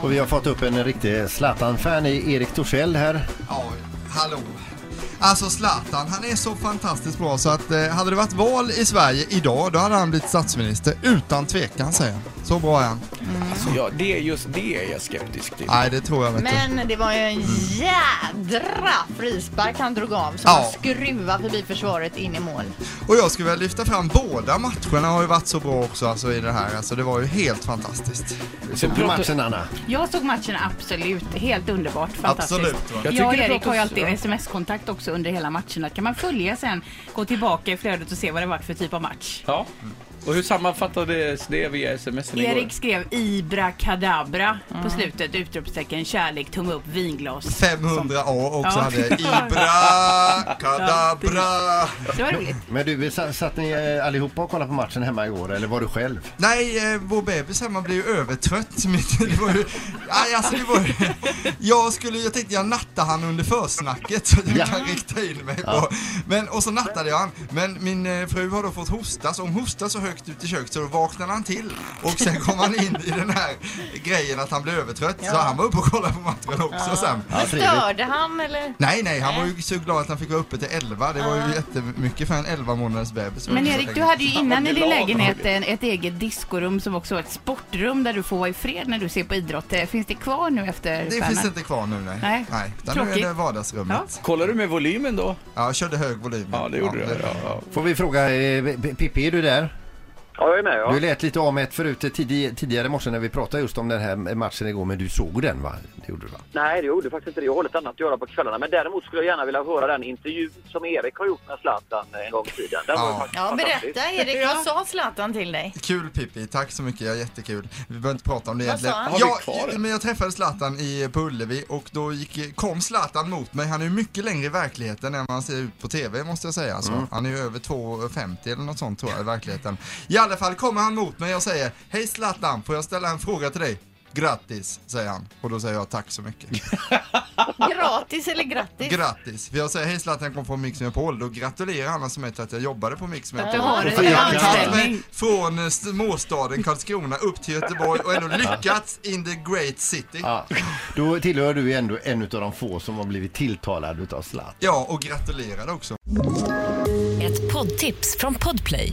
Och vi har fått upp en riktig Zlatan-fan i Erik Torssell här. Ja, hallå. Alltså Zlatan, han är så fantastiskt bra så att eh, hade det varit val i Sverige idag, då hade han blivit statsminister. Utan tvekan säger han. Så bra är han. Så ja, det är just det är jag skeptisk till. Nej, det tror jag vet du. Men det var ju en jädra frispark han drog av som Ja. han skruvade förbi försvaret in i mål. Och jag skulle vilja lyfta fram båda matcherna har ju varit så bra också alltså, i det här. Alltså, det var ju helt fantastiskt. Såg du matchen Anna? Jag såg matchen absolut, helt underbart, fantastiskt. Absolut, va? Jag, Jag och tycker det Erik har ju pratas- alltid ja. sms-kontakt också under hela matcherna. Kan man följa sen, gå tillbaka i flödet och se vad det var för typ av match. Ja. Och hur sammanfattades det via sms igår? Erik skrev Ibra kadabra på slutet, utropstecken, kärlek, tumme upp, vinglas. 500 A också Ja. hade Ibra, Kadabra. Det var roligt. Men du, sa- satt ni eh, allihopa och kollade på matchen hemma igår eller var du själv? Nej, eh, vår bebis hemma blev ju övertrött. mitt- Det var ju, nej, alltså det var ju, jag, skulle, jag tänkte jag nattar han under försnacket så att jag Ja. kan rikta in mig på. Men, och så nattade jag han. Men min eh, fru har då fått hosta, så hon hostade så högt ut i köket så då vaknade han till. Och sen kom han in i den här grejen att han blev övertrött. Så han var uppe och kollade på matchen också sen. Ja, trevligt. Störde han eller? Nej, nej, han var ju så glad att han fick vara uppe till 11. Det var ju jättemycket för en 11 månaders bebis. Men Erik, du hade ju innan i din glad. lägenhet en- ett eget diskorum som också var ett sportrum där du får vara i fred när du ser på idrott. Eh, Finns det kvar nu efter Det finns inte kvar nu nej. Nej. utan nu är Tråkigt. det vardagsrummet. Ja. Kollar du med volymen då? Ja, jag körde hög volym. Ja, det gjorde du. Ja, ja. Får vi fråga, eh, P- Pippi är du där? Ja, jag är med. Du Ja. lät lite avmätt förut eh, tidig, tidigare i morse när vi pratade just om den här matchen igår men du såg den va? Det gjorde du va? Nej, det gjorde faktiskt inte det. Jag har lite annat att göra på kvällarna. Men däremot skulle jag gärna vilja höra den intervju som Erik har gjort med Zlatan eh, en gång i tiden. Den var Ja. ju faktiskt Ja, fantastisk. berätta Erik. Vad sa Zlatan till dig? Kul Pippi, tack så mycket, ja, jättekul. Vi behöver inte prata om det Vad egentligen. sa han? Har vi kvar jag, det? men jag träffade Zlatan i, på Ullevi och då gick, kom Zlatan mot mig. Han är ju mycket längre i verkligheten än man ser ut på TV måste jag säga. Mm. Alltså. Han är ju över 2,50 eller något sånt tror jag i verkligheten. I alla fall kommer han mot mig och säger Hej Zlatan, får jag ställa en fråga till dig? Grattis, säger han. Och då säger jag tack så mycket. Gratis eller grattis? Grattis! För jag säger hej Zlatan kom från Mix Megapol, då gratulerar alla som är till att jag jobbade på Mix Att du Megapol. har Och en för jag har tagit anställning. mig Från eh, småstaden Karlskrona upp till Göteborg och ändå lyckats in the great city. Ja. Då tillhör du ju ändå en av de få som har blivit tilltalad utav Zlatan. Ja, och gratulerade också. Ett poddtips från Podplay.